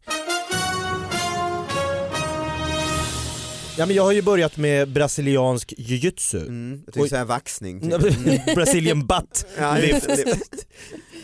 [SPEAKER 4] Ja, men jag har ju börjat med brasiliansk jujutsu.
[SPEAKER 2] Mm. Jag
[SPEAKER 4] Oj.
[SPEAKER 2] tänkte säga vaxning.
[SPEAKER 4] Mm.
[SPEAKER 2] typ.
[SPEAKER 4] Brazilian butt.
[SPEAKER 2] Ja, just det.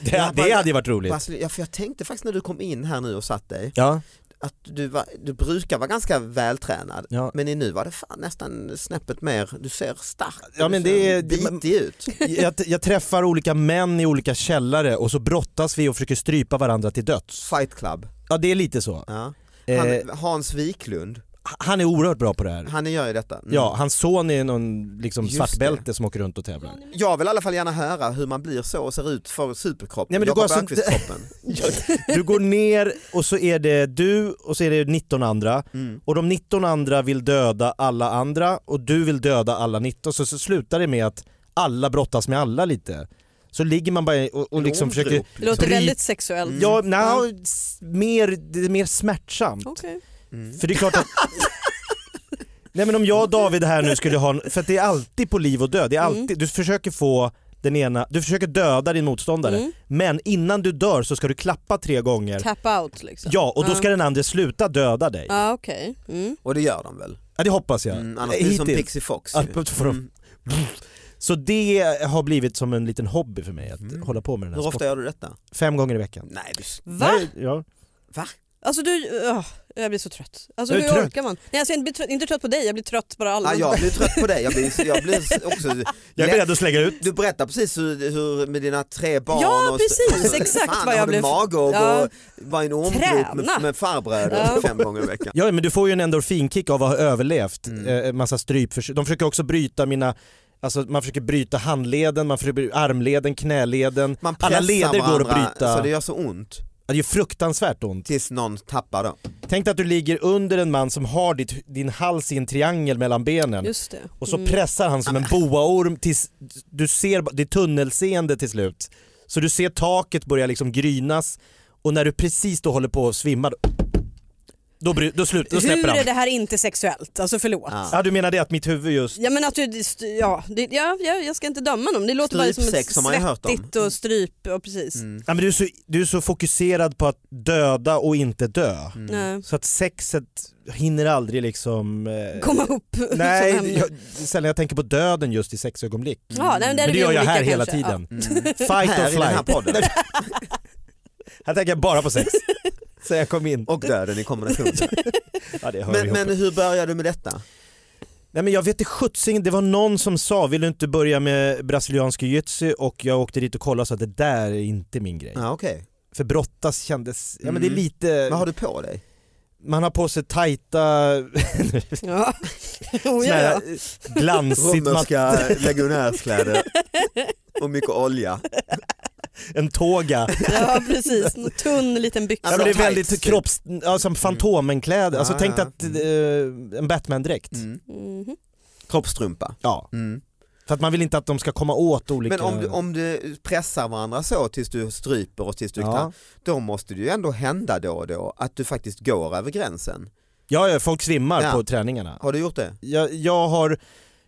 [SPEAKER 4] Det, det hade ju varit roligt.
[SPEAKER 2] Basil- Ja, för jag tänkte faktiskt när du kom in här nu och satt dig
[SPEAKER 4] Ja,
[SPEAKER 2] att du, var, du brukar vara ganska vältränad
[SPEAKER 4] ja.
[SPEAKER 2] men i nu var det fan nästan snäppet mer, du ser stark
[SPEAKER 4] Ja,
[SPEAKER 2] du
[SPEAKER 4] men
[SPEAKER 2] ser
[SPEAKER 4] det är-
[SPEAKER 2] bitig ut.
[SPEAKER 4] Jag, jag träffar olika män i olika källare och så brottas vi och försöker strypa varandra till döds.
[SPEAKER 2] Fight Club.
[SPEAKER 4] Ja det är lite så.
[SPEAKER 2] Ja.
[SPEAKER 4] Eh,
[SPEAKER 2] Han, Hans Wiklund,
[SPEAKER 4] han är oerhört bra på det här.
[SPEAKER 2] han gör ju detta. Mm.
[SPEAKER 4] Ja, hans son är någon liksom
[SPEAKER 2] Just
[SPEAKER 4] svartbälte som åker runt och tävlar.
[SPEAKER 2] Jag vill i alla fall gärna höra hur man blir så och ser ut för superkroppen,
[SPEAKER 4] Nej, men det går
[SPEAKER 2] Jakob
[SPEAKER 4] alltså-
[SPEAKER 2] Öqvist-kroppen.
[SPEAKER 4] Du går ner och så är det du och så är det 19 andra
[SPEAKER 2] Mm.
[SPEAKER 4] och de 19 andra vill döda alla andra och du vill döda alla 19 så, så slutar det med att alla brottas med alla lite. Så ligger man bara och, och liksom
[SPEAKER 2] Omdrop,
[SPEAKER 4] försöker...
[SPEAKER 3] Det låter
[SPEAKER 4] Bryt-
[SPEAKER 3] väldigt sexuellt.
[SPEAKER 2] Mm.
[SPEAKER 4] Ja, nej, mer, det är mer smärtsamt.
[SPEAKER 3] Okej.
[SPEAKER 2] Mm.
[SPEAKER 4] För det är klart att... Nej men om jag och David här nu skulle ha en... För att det är alltid på liv och död. Det är
[SPEAKER 3] Mm.
[SPEAKER 4] alltid, Du försöker få den ena... Du försöker döda din motståndare.
[SPEAKER 3] Mm.
[SPEAKER 4] Men innan du dör så ska du klappa tre gånger.
[SPEAKER 3] Tap out liksom.
[SPEAKER 4] Ja, och då
[SPEAKER 3] Ja.
[SPEAKER 4] ska den andra sluta döda dig.
[SPEAKER 3] Ja okej. Mm.
[SPEAKER 2] Och det gör de väl?
[SPEAKER 4] Ja, det hoppas jag.
[SPEAKER 2] Mm, annars blir det som Pixie Fox.
[SPEAKER 4] Ja,
[SPEAKER 2] ju.
[SPEAKER 4] p- för-
[SPEAKER 2] Mm.
[SPEAKER 4] Så det har blivit som en liten hobby för mig att
[SPEAKER 2] Mm.
[SPEAKER 4] hålla på med den här
[SPEAKER 2] Hur ofta
[SPEAKER 4] sporten.
[SPEAKER 2] gör du detta?
[SPEAKER 4] Fem gånger i veckan.
[SPEAKER 2] Nej, du...
[SPEAKER 3] Va?
[SPEAKER 4] Nej, ja.
[SPEAKER 3] Alltså du, öh, jag blir så trött. Alltså
[SPEAKER 4] Är
[SPEAKER 3] hur
[SPEAKER 4] du trött?
[SPEAKER 3] orkar man? Nej alltså jag blir trött, inte trött på dig, jag blir trött bara
[SPEAKER 2] Ah,
[SPEAKER 3] allmänt.
[SPEAKER 2] jag blir trött på dig, jag blir, jag blir också...
[SPEAKER 4] Jag är
[SPEAKER 2] Lätt-
[SPEAKER 4] beredd att slänga ut.
[SPEAKER 2] Du berättar precis hur, hur med dina tre barn
[SPEAKER 3] Ja,
[SPEAKER 2] och
[SPEAKER 3] precis, exakt
[SPEAKER 2] fan,
[SPEAKER 3] vad jag
[SPEAKER 2] har du
[SPEAKER 3] blev-
[SPEAKER 2] mage och
[SPEAKER 3] Ja.
[SPEAKER 2] ja. vara i en ormgrop
[SPEAKER 3] Träna.
[SPEAKER 2] med, med farbröder
[SPEAKER 3] Ja.
[SPEAKER 2] fem gånger i veckan.
[SPEAKER 4] Ja, men du får ju en endorfinkick av att ha överlevt
[SPEAKER 2] Mm.
[SPEAKER 4] eh, en massa strypförsök. De försöker också bryta mina, alltså man försöker bryta handleden, man försöker bryta armleden, knäleden.
[SPEAKER 2] Man
[SPEAKER 4] Alla
[SPEAKER 2] pressar
[SPEAKER 4] leder går att
[SPEAKER 2] varandra
[SPEAKER 4] bryta.
[SPEAKER 2] så det gör så ont
[SPEAKER 4] Det är ju fruktansvärt ont.
[SPEAKER 2] tills någon tappar dem.
[SPEAKER 4] Tänk dig att du ligger under en man som har ditt, din hals i en triangel mellan benen
[SPEAKER 3] Just det.
[SPEAKER 4] och så
[SPEAKER 3] Mm.
[SPEAKER 4] pressar han som en boaorm tills du ser, ba- det är tunnelseende till slut. Så du ser taket börja liksom grynas och när du precis då håller på att svimma då, då, bry- då, slut, då släpper
[SPEAKER 3] Hur är
[SPEAKER 4] han.
[SPEAKER 3] det här inte sexuellt? Alltså förlåt.
[SPEAKER 2] Ja.
[SPEAKER 4] Ja du menar det att mitt huvud just
[SPEAKER 3] Ja men att du, det st- ja, det, ja, ja, jag ska inte döma någon. Det låter bara som ett
[SPEAKER 2] Strypsex har man ju hört om.
[SPEAKER 3] svettigt och stryp och precis.
[SPEAKER 2] Mm.
[SPEAKER 4] Ja, men du, är så, du är så fokuserad på att döda och inte dö.
[SPEAKER 2] Mm.
[SPEAKER 3] Nej.
[SPEAKER 4] Så att sexet hinner aldrig liksom... eh,
[SPEAKER 3] Komma upp. som
[SPEAKER 4] Nej,
[SPEAKER 3] ämne.
[SPEAKER 4] jag, sällan jag tänker på döden just i sexögonblick.
[SPEAKER 3] Ja, nej, men där är
[SPEAKER 4] Men det
[SPEAKER 3] vi
[SPEAKER 4] gör jag
[SPEAKER 3] olika
[SPEAKER 4] här hela
[SPEAKER 3] kanske.
[SPEAKER 4] tiden.
[SPEAKER 2] Mm.
[SPEAKER 4] Fight
[SPEAKER 2] här
[SPEAKER 4] or
[SPEAKER 2] i den här
[SPEAKER 4] flight.
[SPEAKER 2] podden.
[SPEAKER 4] Här tänker jag bara på sex. Sen jag kom in.
[SPEAKER 2] Och döden i kombination.
[SPEAKER 4] Ja, det hör
[SPEAKER 2] men,
[SPEAKER 4] ihop.
[SPEAKER 2] men hur började du med detta?
[SPEAKER 4] Nej, men jag vet inte sjuttsingen, det var någon som sa, vill du inte börja med brasiliansk jiu-jitsu? Och jag åkte dit och kollade och sa, det där är inte min grej.
[SPEAKER 2] Ja, okej.
[SPEAKER 4] För brottas kändes, ja men det är
[SPEAKER 2] Mm.
[SPEAKER 4] lite,
[SPEAKER 2] Vad har du på dig?
[SPEAKER 4] man har på sig tajta,
[SPEAKER 3] Ja. Oh,
[SPEAKER 4] såna
[SPEAKER 3] ja,
[SPEAKER 4] här
[SPEAKER 3] ja.
[SPEAKER 4] glansigt mat-
[SPEAKER 2] Romerska legionärskläder och mycket olja.
[SPEAKER 4] en tåga.
[SPEAKER 3] ja precis, en tunn liten byxa.
[SPEAKER 4] Ja, men det är
[SPEAKER 2] Tights,
[SPEAKER 4] väldigt
[SPEAKER 2] typ.
[SPEAKER 4] kropps... Ja, som Fantomenkläder. Alltså
[SPEAKER 2] Ja,
[SPEAKER 4] tänk dig
[SPEAKER 2] ja.
[SPEAKER 4] att eh, en Batman-dräkt.
[SPEAKER 2] Mm.
[SPEAKER 3] Mhm.
[SPEAKER 2] Kroppstrumpa.
[SPEAKER 4] Ja.
[SPEAKER 2] Mm.
[SPEAKER 4] För att man vill inte att de ska komma åt olika...
[SPEAKER 2] Men om du, om du pressar varandra så tills du stryper och tills du
[SPEAKER 4] ja.
[SPEAKER 2] knall, då måste det ju ändå hända då och då att du faktiskt går över gränsen.
[SPEAKER 4] ja, ja, folk svimmar
[SPEAKER 2] Ja.
[SPEAKER 4] på träningarna.
[SPEAKER 2] Har du gjort det?
[SPEAKER 4] Jag, jag, har,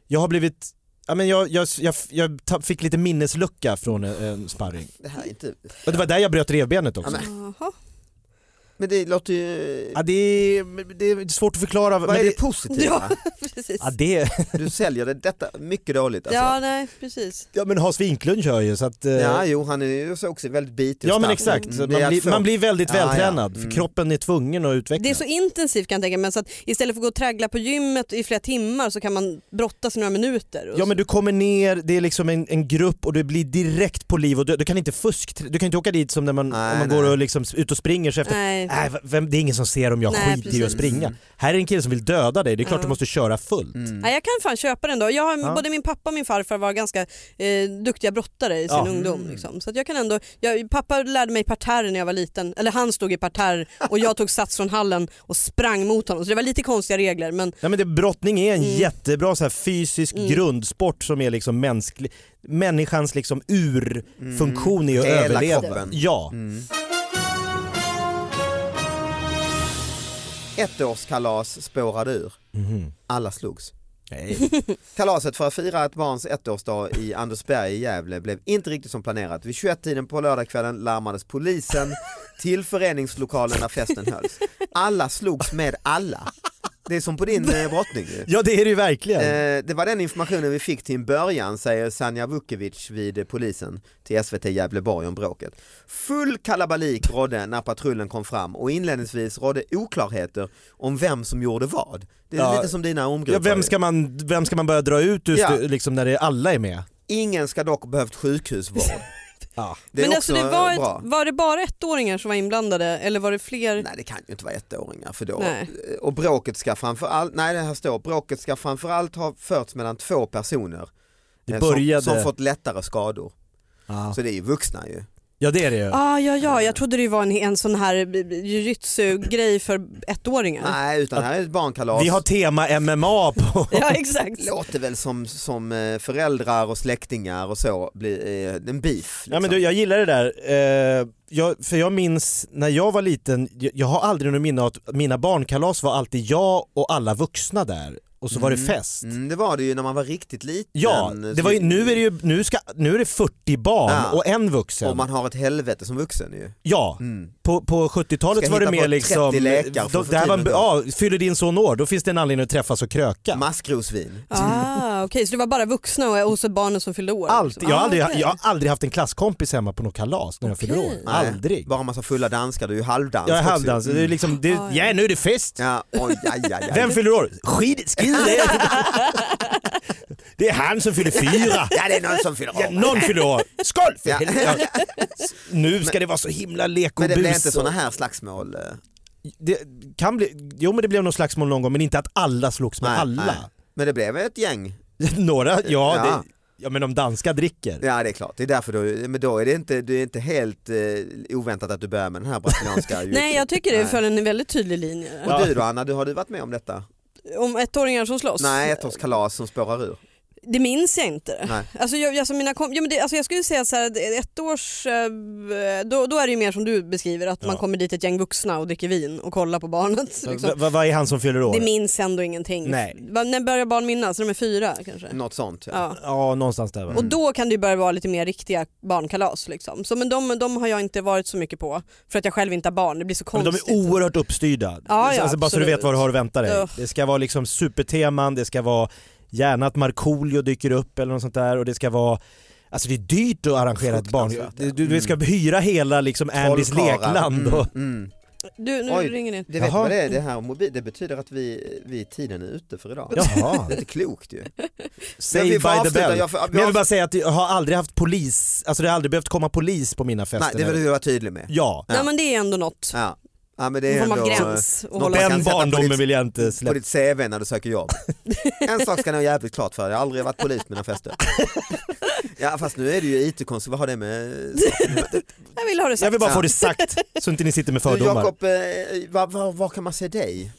[SPEAKER 4] jag har blivit... Ja, men jag, jag, jag, jag ta- fick lite minneslucka från en, en sparring.
[SPEAKER 2] Det här är inte...
[SPEAKER 4] Och det var där jag bröt revbenet också.
[SPEAKER 2] Ja,
[SPEAKER 4] Ja,
[SPEAKER 2] men-
[SPEAKER 3] Jaha.
[SPEAKER 2] Men det låter ju...
[SPEAKER 4] det, är, det är svårt att förklara.
[SPEAKER 2] Vad
[SPEAKER 4] men
[SPEAKER 2] är det
[SPEAKER 4] det,
[SPEAKER 2] positiva?
[SPEAKER 3] Precis.
[SPEAKER 4] ja, det, alltså-
[SPEAKER 2] Du säljer det, detta mycket dåligt alltså.
[SPEAKER 3] Ja nej precis.
[SPEAKER 4] ja, men Hans Wiklund kör ju så att... eh,
[SPEAKER 2] Ja, jo han är ju så också väldigt bitig och
[SPEAKER 4] ja men
[SPEAKER 2] stark.
[SPEAKER 4] exakt,
[SPEAKER 2] Mm,
[SPEAKER 4] Så
[SPEAKER 2] det är
[SPEAKER 4] man,
[SPEAKER 2] att
[SPEAKER 4] blir,
[SPEAKER 2] få-
[SPEAKER 4] man blir väldigt
[SPEAKER 2] Ja, ja.
[SPEAKER 4] vältränad.
[SPEAKER 2] Mm.
[SPEAKER 4] För kroppen är tvungen att utvecklas.
[SPEAKER 3] Det är så intensivt kan jag tänka mig så att istället för att gå och traggla på gymmet i flera timmar så kan man brottas i några minuter. och
[SPEAKER 4] Ja
[SPEAKER 3] så.
[SPEAKER 4] men du kommer ner, det är liksom en, en grupp och du blir direkt på liv och död. Du kan inte fusk, du kan inte åka dit som när man,
[SPEAKER 2] Nej,
[SPEAKER 4] om man
[SPEAKER 2] nej.
[SPEAKER 4] går och liksom s- ut och springer så efter, Äh.
[SPEAKER 3] Nej.
[SPEAKER 4] nej va- vem, det är ingen som ser om jag
[SPEAKER 3] Nej,
[SPEAKER 4] skiter i att
[SPEAKER 3] precis.
[SPEAKER 4] springa.
[SPEAKER 2] Mm.
[SPEAKER 4] Här är en kille som vill döda dig, det är klart
[SPEAKER 3] Ja.
[SPEAKER 4] du måste köra fullt.
[SPEAKER 2] Mm.
[SPEAKER 3] Nej, jag kan fan köpa den då. Jag, har-
[SPEAKER 4] Ja.
[SPEAKER 3] Både min pappa och min farfar var ganska eh, duktiga brottare i sin
[SPEAKER 4] Ja.
[SPEAKER 3] ungdom.
[SPEAKER 2] Mm.
[SPEAKER 3] Liksom. Så att jag kan ändå, jag, pappa lärde mig parterre när jag var liten. Eller han stod i parterre och jag tog sats från hallen och sprang mot honom. Så det var lite konstiga regler. Men
[SPEAKER 4] Nej, men det, brottning är en
[SPEAKER 3] Mm.
[SPEAKER 4] jättebra så här, fysisk
[SPEAKER 3] Mm.
[SPEAKER 4] grundsport som är liksom mänsklig, människans liksom urfunktion är att
[SPEAKER 2] Mm. Hela
[SPEAKER 4] överleva.
[SPEAKER 2] kroppen.
[SPEAKER 4] Ja.
[SPEAKER 2] Mm. Ettårskalas spårade ur.
[SPEAKER 4] Mhm.
[SPEAKER 2] Alla slogs.
[SPEAKER 4] Nej.
[SPEAKER 2] Kalaset för att fira ett barns ettårsdag i Andersberg i Gävle blev inte riktigt som planerat. Vid 21-tiden på lördagskvällen larmades polisen till föreningslokalen där festen hölls. Alla slogs med alla. Det är som på din eh, brottning. ju.
[SPEAKER 4] Ja det är det ju verkligen.
[SPEAKER 2] Eh, det var den informationen vi fick till en början säger Sanja Vukovic vid eh, polisen till SVT Gävleborg om bråket. Full kalabalik rådde när patrullen kom fram och inledningsvis rådde oklarheter om vem som gjorde vad. Det är
[SPEAKER 4] Ja.
[SPEAKER 2] lite som dina omgrupper.
[SPEAKER 4] ja, vem, ska man, vem ska man börja dra ut just
[SPEAKER 2] Ja.
[SPEAKER 4] det, liksom, när det, alla är med?
[SPEAKER 2] Ingen ska dock behövt sjukhusvård.
[SPEAKER 4] Ja.
[SPEAKER 2] Det är
[SPEAKER 3] men
[SPEAKER 2] också
[SPEAKER 3] alltså, det var,
[SPEAKER 2] bra.
[SPEAKER 3] ett, var det bara ettåringar som var inblandade eller var det fler?
[SPEAKER 2] Nej det kan ju inte vara ettåringar för då.
[SPEAKER 3] Nej.
[SPEAKER 2] Och bråket ska framförallt, nej det här står, bråket ska framförallt ha förts mellan två personer
[SPEAKER 4] Det
[SPEAKER 2] eh,
[SPEAKER 4] började...
[SPEAKER 2] som, som fått lättare skador.
[SPEAKER 4] Ja.
[SPEAKER 2] Så det är ju vuxna ju.
[SPEAKER 4] Ja det är det ju.
[SPEAKER 3] Ah, ja, ja, jag trodde det var en, en sån här jujutsu-grej för ettåringar.
[SPEAKER 2] Nej utan här är ett barnkalas.
[SPEAKER 4] Vi har tema MMA på...
[SPEAKER 3] Ja exakt.
[SPEAKER 2] Låter väl som, som eh, föräldrar och släktingar och så blir eh, en beef.
[SPEAKER 4] Ja, men du, jag gillar det där, eh, jag, för jag minns när jag var liten, jag, jag har aldrig något minne av att mina barnkalas var alltid jag och alla vuxna där. och så var det
[SPEAKER 2] Mm.
[SPEAKER 4] fest.
[SPEAKER 2] Mm, det var det ju när man var riktigt liten.
[SPEAKER 4] Ja, det var ju, nu är det ju nu ska, nu är det 40 barn
[SPEAKER 2] Ja.
[SPEAKER 4] och en
[SPEAKER 2] Och
[SPEAKER 4] vuxen.
[SPEAKER 2] man har ett helvete som vuxen ju.
[SPEAKER 4] Ja,
[SPEAKER 2] Mm.
[SPEAKER 4] på, på 70-talet
[SPEAKER 2] Ska
[SPEAKER 4] var det
[SPEAKER 2] hitta på
[SPEAKER 4] mer
[SPEAKER 2] 30
[SPEAKER 4] liksom,
[SPEAKER 2] läkare för
[SPEAKER 4] då,
[SPEAKER 2] att få
[SPEAKER 4] det här var, en-
[SPEAKER 2] tiden
[SPEAKER 4] ja, fyller din son år, då finns det en anledning att träffas och kröka.
[SPEAKER 2] Maskrosvin.
[SPEAKER 3] Ah, Okej, så det var bara vuxna och, och så barnen som fyllde år?
[SPEAKER 4] Alltid, jag, har
[SPEAKER 3] Ah,
[SPEAKER 4] aldrig,
[SPEAKER 3] okej.
[SPEAKER 4] jag har aldrig haft en klasskompis hemma på något kalas när jag
[SPEAKER 3] Okej.
[SPEAKER 4] fyller år.
[SPEAKER 3] Nej.
[SPEAKER 4] Aldrig.
[SPEAKER 2] Bara massa fulla danskar, du är ju halvdansk
[SPEAKER 4] Jag är
[SPEAKER 2] också ju.
[SPEAKER 4] halvdans, det är liksom, det,
[SPEAKER 3] Ah, ja.
[SPEAKER 4] ja nu är det fest.
[SPEAKER 2] Mm. Ja, oj, aj, aj, aj.
[SPEAKER 4] Vem fyller år? Skid, skid det. det är han som fyller fyra.
[SPEAKER 2] Ja det är någon som fyller
[SPEAKER 4] Ja,
[SPEAKER 2] år.
[SPEAKER 4] någon fyller år. Skål för
[SPEAKER 2] Ja.
[SPEAKER 4] helvete. Ja. Nu ska det vara så himla lek och
[SPEAKER 2] Men det blir
[SPEAKER 4] bus
[SPEAKER 2] inte
[SPEAKER 4] och-
[SPEAKER 2] sådana här slagsmål. eh,
[SPEAKER 4] Det kan bli, jo men det blev någon slagsmål någon gång men inte att alla slogs med
[SPEAKER 2] nej,
[SPEAKER 4] alla.
[SPEAKER 2] nej. Men det blev ett gäng.
[SPEAKER 4] Några, ja,
[SPEAKER 2] Ja.
[SPEAKER 4] Det, ja men de danska dricker.
[SPEAKER 3] Typ.
[SPEAKER 2] Ja det är klart, det är därför du, men då är det inte, det är inte helt eh, oväntat att du börjar med den här brasilianska
[SPEAKER 3] Nej jag tycker det
[SPEAKER 2] Nej.
[SPEAKER 3] för en väldigt tydlig linje.
[SPEAKER 2] Och du då Anna, du, har du varit med om detta?
[SPEAKER 3] Om ettåringar som slåss?
[SPEAKER 2] Nej, ett års kalas som spårar ur.
[SPEAKER 3] Det minns jag inte.
[SPEAKER 2] Nej.
[SPEAKER 3] Alltså jag, alltså mina kom, ja, men det, alltså jag skulle säga så här, det- ett års, eh, då, då är det ju mer som du beskriver, att man
[SPEAKER 4] Ja.
[SPEAKER 3] kommer dit ett gäng vuxna och dricker vin och kollar på barnet. Liksom.
[SPEAKER 4] Va- va- Vad är han som fyller år?
[SPEAKER 3] Det minns ändå ingenting.
[SPEAKER 4] Nej.
[SPEAKER 3] Va- När börjar barn minnas? När de är fyra kanske?
[SPEAKER 2] Något sånt. Ja.
[SPEAKER 3] Ja.
[SPEAKER 4] Ja någonstans där va?
[SPEAKER 3] Och då kan det ju börja vara lite mer riktiga barnkalas. Liksom. Så, men de, de har jag inte varit så mycket på för att jag själv inte har barn. Det blir så
[SPEAKER 4] Men de
[SPEAKER 3] konstigt.
[SPEAKER 4] är oerhört uppstyrda.
[SPEAKER 3] ja,
[SPEAKER 4] alltså, bara så du vet
[SPEAKER 3] absolut.
[SPEAKER 4] vad du har att vänta dig.
[SPEAKER 3] Ja.
[SPEAKER 4] Det ska vara liksom superteman, det ska vara gärna att Markoolio dyker upp eller något sånt där och det ska vara Alltså det är dyrt att arrangera ett barn.
[SPEAKER 2] Fruktansvärt, ja.
[SPEAKER 4] Du, du ska hyra hela liksom Andys
[SPEAKER 2] Trollkarlar.
[SPEAKER 4] lekland.
[SPEAKER 2] Mm,
[SPEAKER 4] Och...
[SPEAKER 2] mm.
[SPEAKER 3] Du, nu
[SPEAKER 2] Oj.
[SPEAKER 3] ringer det.
[SPEAKER 2] Det vet
[SPEAKER 4] Jaha.
[SPEAKER 2] vad det är, det här mobil, det betyder att vi, vi tiden är ute för idag.
[SPEAKER 4] Jaha,
[SPEAKER 2] Det är inte klokt ju. Men vi
[SPEAKER 4] save
[SPEAKER 2] får
[SPEAKER 4] by the
[SPEAKER 2] avsluta,
[SPEAKER 4] bell.
[SPEAKER 2] jag får-
[SPEAKER 4] Men jag vill bara säga att jag har aldrig haft polis, alltså det har aldrig behövt komma polis på mina fester.
[SPEAKER 2] Nej, det vill du vara tydlig med.
[SPEAKER 4] Ja,
[SPEAKER 3] Nej men det är ändå något.
[SPEAKER 2] Ja. Ja, men det
[SPEAKER 3] Någon
[SPEAKER 2] är
[SPEAKER 3] form av
[SPEAKER 2] ändå
[SPEAKER 3] gräns. att
[SPEAKER 2] någon
[SPEAKER 3] hålla
[SPEAKER 2] jag kan
[SPEAKER 4] den
[SPEAKER 2] sätta på
[SPEAKER 4] barndomen
[SPEAKER 2] ditt-
[SPEAKER 4] vill jag inte
[SPEAKER 2] eh, på
[SPEAKER 4] släppa.
[SPEAKER 2] ditt CV när du söker jobb. En sak ska ni ha jävligt klart för er, jag har aldrig varit polis på mina fester. Ja fast nu är det ju IT-konsult, vad har det med
[SPEAKER 3] Jag vill ha det sagt.
[SPEAKER 4] Jag vill bara
[SPEAKER 2] Ja.
[SPEAKER 4] få det sagt så inte ni sitter med
[SPEAKER 2] Du
[SPEAKER 4] fördomar.
[SPEAKER 2] Jakob, eh, var, var, var kan man se dig?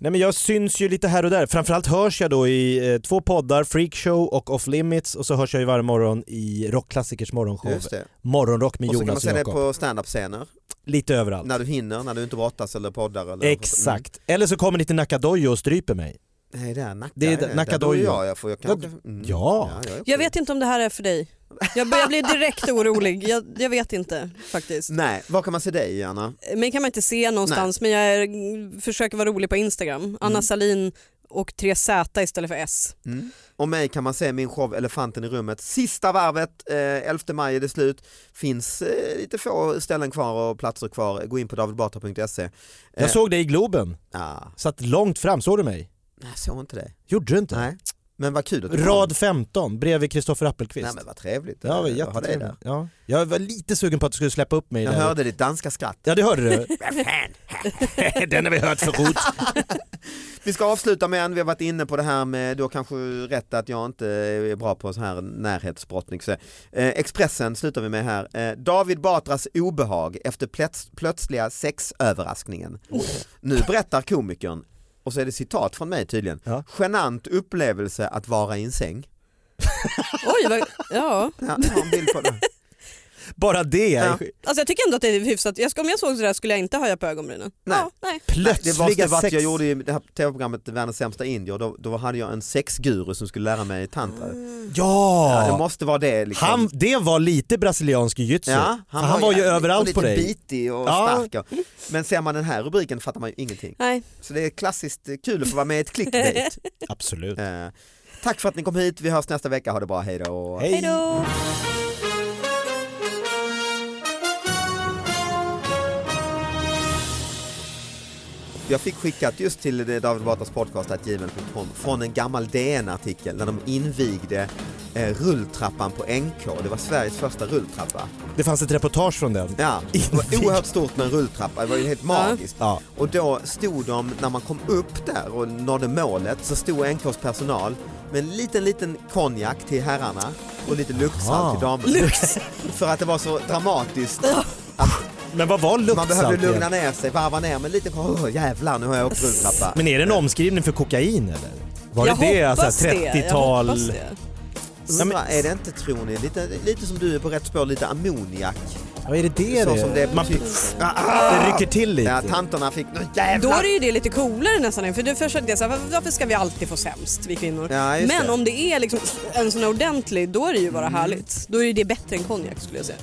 [SPEAKER 4] Nej men jag syns ju lite här och där, framförallt hörs jag då i eh, två poddar, Freakshow och Off Limits och så hörs jag ju varje morgon i Rockklassikers morgonshow,
[SPEAKER 2] Just det.
[SPEAKER 4] Morgonrock med
[SPEAKER 2] Och så kan man
[SPEAKER 4] Jonas
[SPEAKER 2] se
[SPEAKER 4] och
[SPEAKER 2] dig
[SPEAKER 4] Jakob.
[SPEAKER 2] på standup-scener,
[SPEAKER 4] Lite överallt.
[SPEAKER 2] när du hinner, när du inte brottas eller poddar. Eller
[SPEAKER 4] Exakt, eller så kommer ni till Nackadojo och stryper mig.
[SPEAKER 2] Mm. Nej det är Nacka.
[SPEAKER 4] Det är
[SPEAKER 2] där
[SPEAKER 4] Nacka
[SPEAKER 2] bor ju
[SPEAKER 4] Dojo.
[SPEAKER 2] jag, jag, får, jag kanske... Mm.
[SPEAKER 4] Ja.
[SPEAKER 2] jag är också-
[SPEAKER 3] Jag vet inte om det här är för dig. Jag, bör- jag blir direkt orolig. Jag, jag vet inte faktiskt.
[SPEAKER 2] Nej, var kan man se dig Anna?
[SPEAKER 3] Mig kan man inte se någonstans men jag är, försöker vara rolig på Instagram. Anna
[SPEAKER 2] Mm.
[SPEAKER 3] Salin och 3Z istället för S.
[SPEAKER 2] Mm. Och mig kan man se i min show Elefanten i rummet. Sista varvet, eh, 11 maj är det slut. Finns eh, lite få ställen kvar och platser kvar. Gå in på davidbatra.se. Eh.
[SPEAKER 4] Jag såg dig i Globen,
[SPEAKER 2] Ah,
[SPEAKER 4] satt långt fram, såg du mig?
[SPEAKER 2] nej, jag såg inte det.
[SPEAKER 4] Gjorde du inte?
[SPEAKER 2] Nej. Men vad kul att du kom.
[SPEAKER 4] Rad 15 bredvid Kristoffer
[SPEAKER 2] Nej
[SPEAKER 4] Appelqvist.
[SPEAKER 2] men vad trevligt.
[SPEAKER 4] Ja, det var
[SPEAKER 2] Eh, att ha dig
[SPEAKER 4] jättetrevligt.
[SPEAKER 2] där.
[SPEAKER 4] Ja. Jag var lite sugen på att du skulle släppa upp mig
[SPEAKER 2] Jag
[SPEAKER 4] där.
[SPEAKER 2] hörde ditt danska skratt.
[SPEAKER 4] Ja det hörde du.
[SPEAKER 2] Vad fan?
[SPEAKER 4] Den har vi hört förut.
[SPEAKER 2] Vi ska avsluta med en, vi har varit inne på det här med, du har kanske rätt att jag inte är bra på så här närhetsbrottning. Så, eh, Expressen slutar vi med här. Eh, David Batras obehag efter plöts plötsliga sexöverraskningen. Nu berättar komikern, och så är det citat från mig tydligen,
[SPEAKER 4] Ja.
[SPEAKER 2] genant upplevelse att vara i en säng.
[SPEAKER 3] Oj, vad, ja.
[SPEAKER 2] Ja, jag har en bild på det.
[SPEAKER 4] Bara det.
[SPEAKER 2] Ja.
[SPEAKER 3] Alltså jag tycker ändå att det är hyfsat. Jag, ska- om jag såg sådär skulle jag inte höja på ögonbrynen.
[SPEAKER 2] Nej.
[SPEAKER 3] Ja, nej.
[SPEAKER 2] Det
[SPEAKER 4] Plötsliga
[SPEAKER 2] var det var att
[SPEAKER 4] sex...
[SPEAKER 2] jag gjorde i det här tv-programmet Världens sämsta indier, då, då hade jag en sexguru som skulle lära mig tantra. Ja, det
[SPEAKER 4] Ja!
[SPEAKER 2] måste vara det. Liksom.
[SPEAKER 4] Han, det var lite brasiliansk jujutsu.
[SPEAKER 2] Ja,
[SPEAKER 4] han, var ju överallt på
[SPEAKER 2] och Lite
[SPEAKER 4] dig.
[SPEAKER 2] bitig och
[SPEAKER 4] Ja.
[SPEAKER 2] stark. och- Men ser man den här rubriken fattar man ju ingenting.
[SPEAKER 3] nej.
[SPEAKER 2] Så det är klassiskt eh, kul att få vara med i ett clickbait.
[SPEAKER 4] Absolut.
[SPEAKER 2] Eh, tack för att ni kom hit, vi hörs nästa vecka, ha det bra, hej då. och-
[SPEAKER 4] Hej.
[SPEAKER 3] Hej då.
[SPEAKER 2] Jag fick skickat just till eh, David Batras podcast att gmail.com från en gammal DN-artikel när de invigde eh, rulltrappan på NK. Det var Sveriges första rulltrappa.
[SPEAKER 4] Det fanns ett reportage från den.
[SPEAKER 2] Ja, det var oerhört stort med en rulltrappa, det var ju helt magiskt.
[SPEAKER 4] Ja.
[SPEAKER 2] Och då stod de, när man kom upp där och nådde målet, så stod NKs personal med en liten, liten konjak till herrarna och lite Luxal
[SPEAKER 4] Aha.
[SPEAKER 2] till damerna. För att det var så dramatiskt.
[SPEAKER 4] Men vad var
[SPEAKER 2] Man behövde
[SPEAKER 4] Luxalt?
[SPEAKER 2] lugna ner sig, varva ner men lite, åh jävlar nu har jag åkt rulltrappa.
[SPEAKER 4] Men är det en omskrivning för kokain eller? Var
[SPEAKER 3] jag
[SPEAKER 4] det det?
[SPEAKER 3] hoppas
[SPEAKER 4] Alltså
[SPEAKER 3] det. Jag
[SPEAKER 4] 30-tal?
[SPEAKER 3] hoppas
[SPEAKER 2] Mm.
[SPEAKER 3] det.
[SPEAKER 2] Undra, är det inte tror ni, lite, lite som du är på rätt spår, lite ammoniak
[SPEAKER 4] Vad är det det
[SPEAKER 2] Så
[SPEAKER 4] det?
[SPEAKER 2] som det är på
[SPEAKER 4] Man,
[SPEAKER 2] typ- Ah, ah!
[SPEAKER 4] det rycker till lite.
[SPEAKER 2] Ja, tanterna fick nu
[SPEAKER 3] Då
[SPEAKER 2] jävlar!
[SPEAKER 3] är ju det lite coolare nästan, än, för du försökte jag så här, "Var- varför ska vi alltid få sämst, vi kvinnor?
[SPEAKER 2] Ja, just
[SPEAKER 3] Men
[SPEAKER 2] det.
[SPEAKER 3] om det är liksom en sån här ordentlig, då är det ju bara härligt. Då är ju det bättre än konjak skulle jag säga.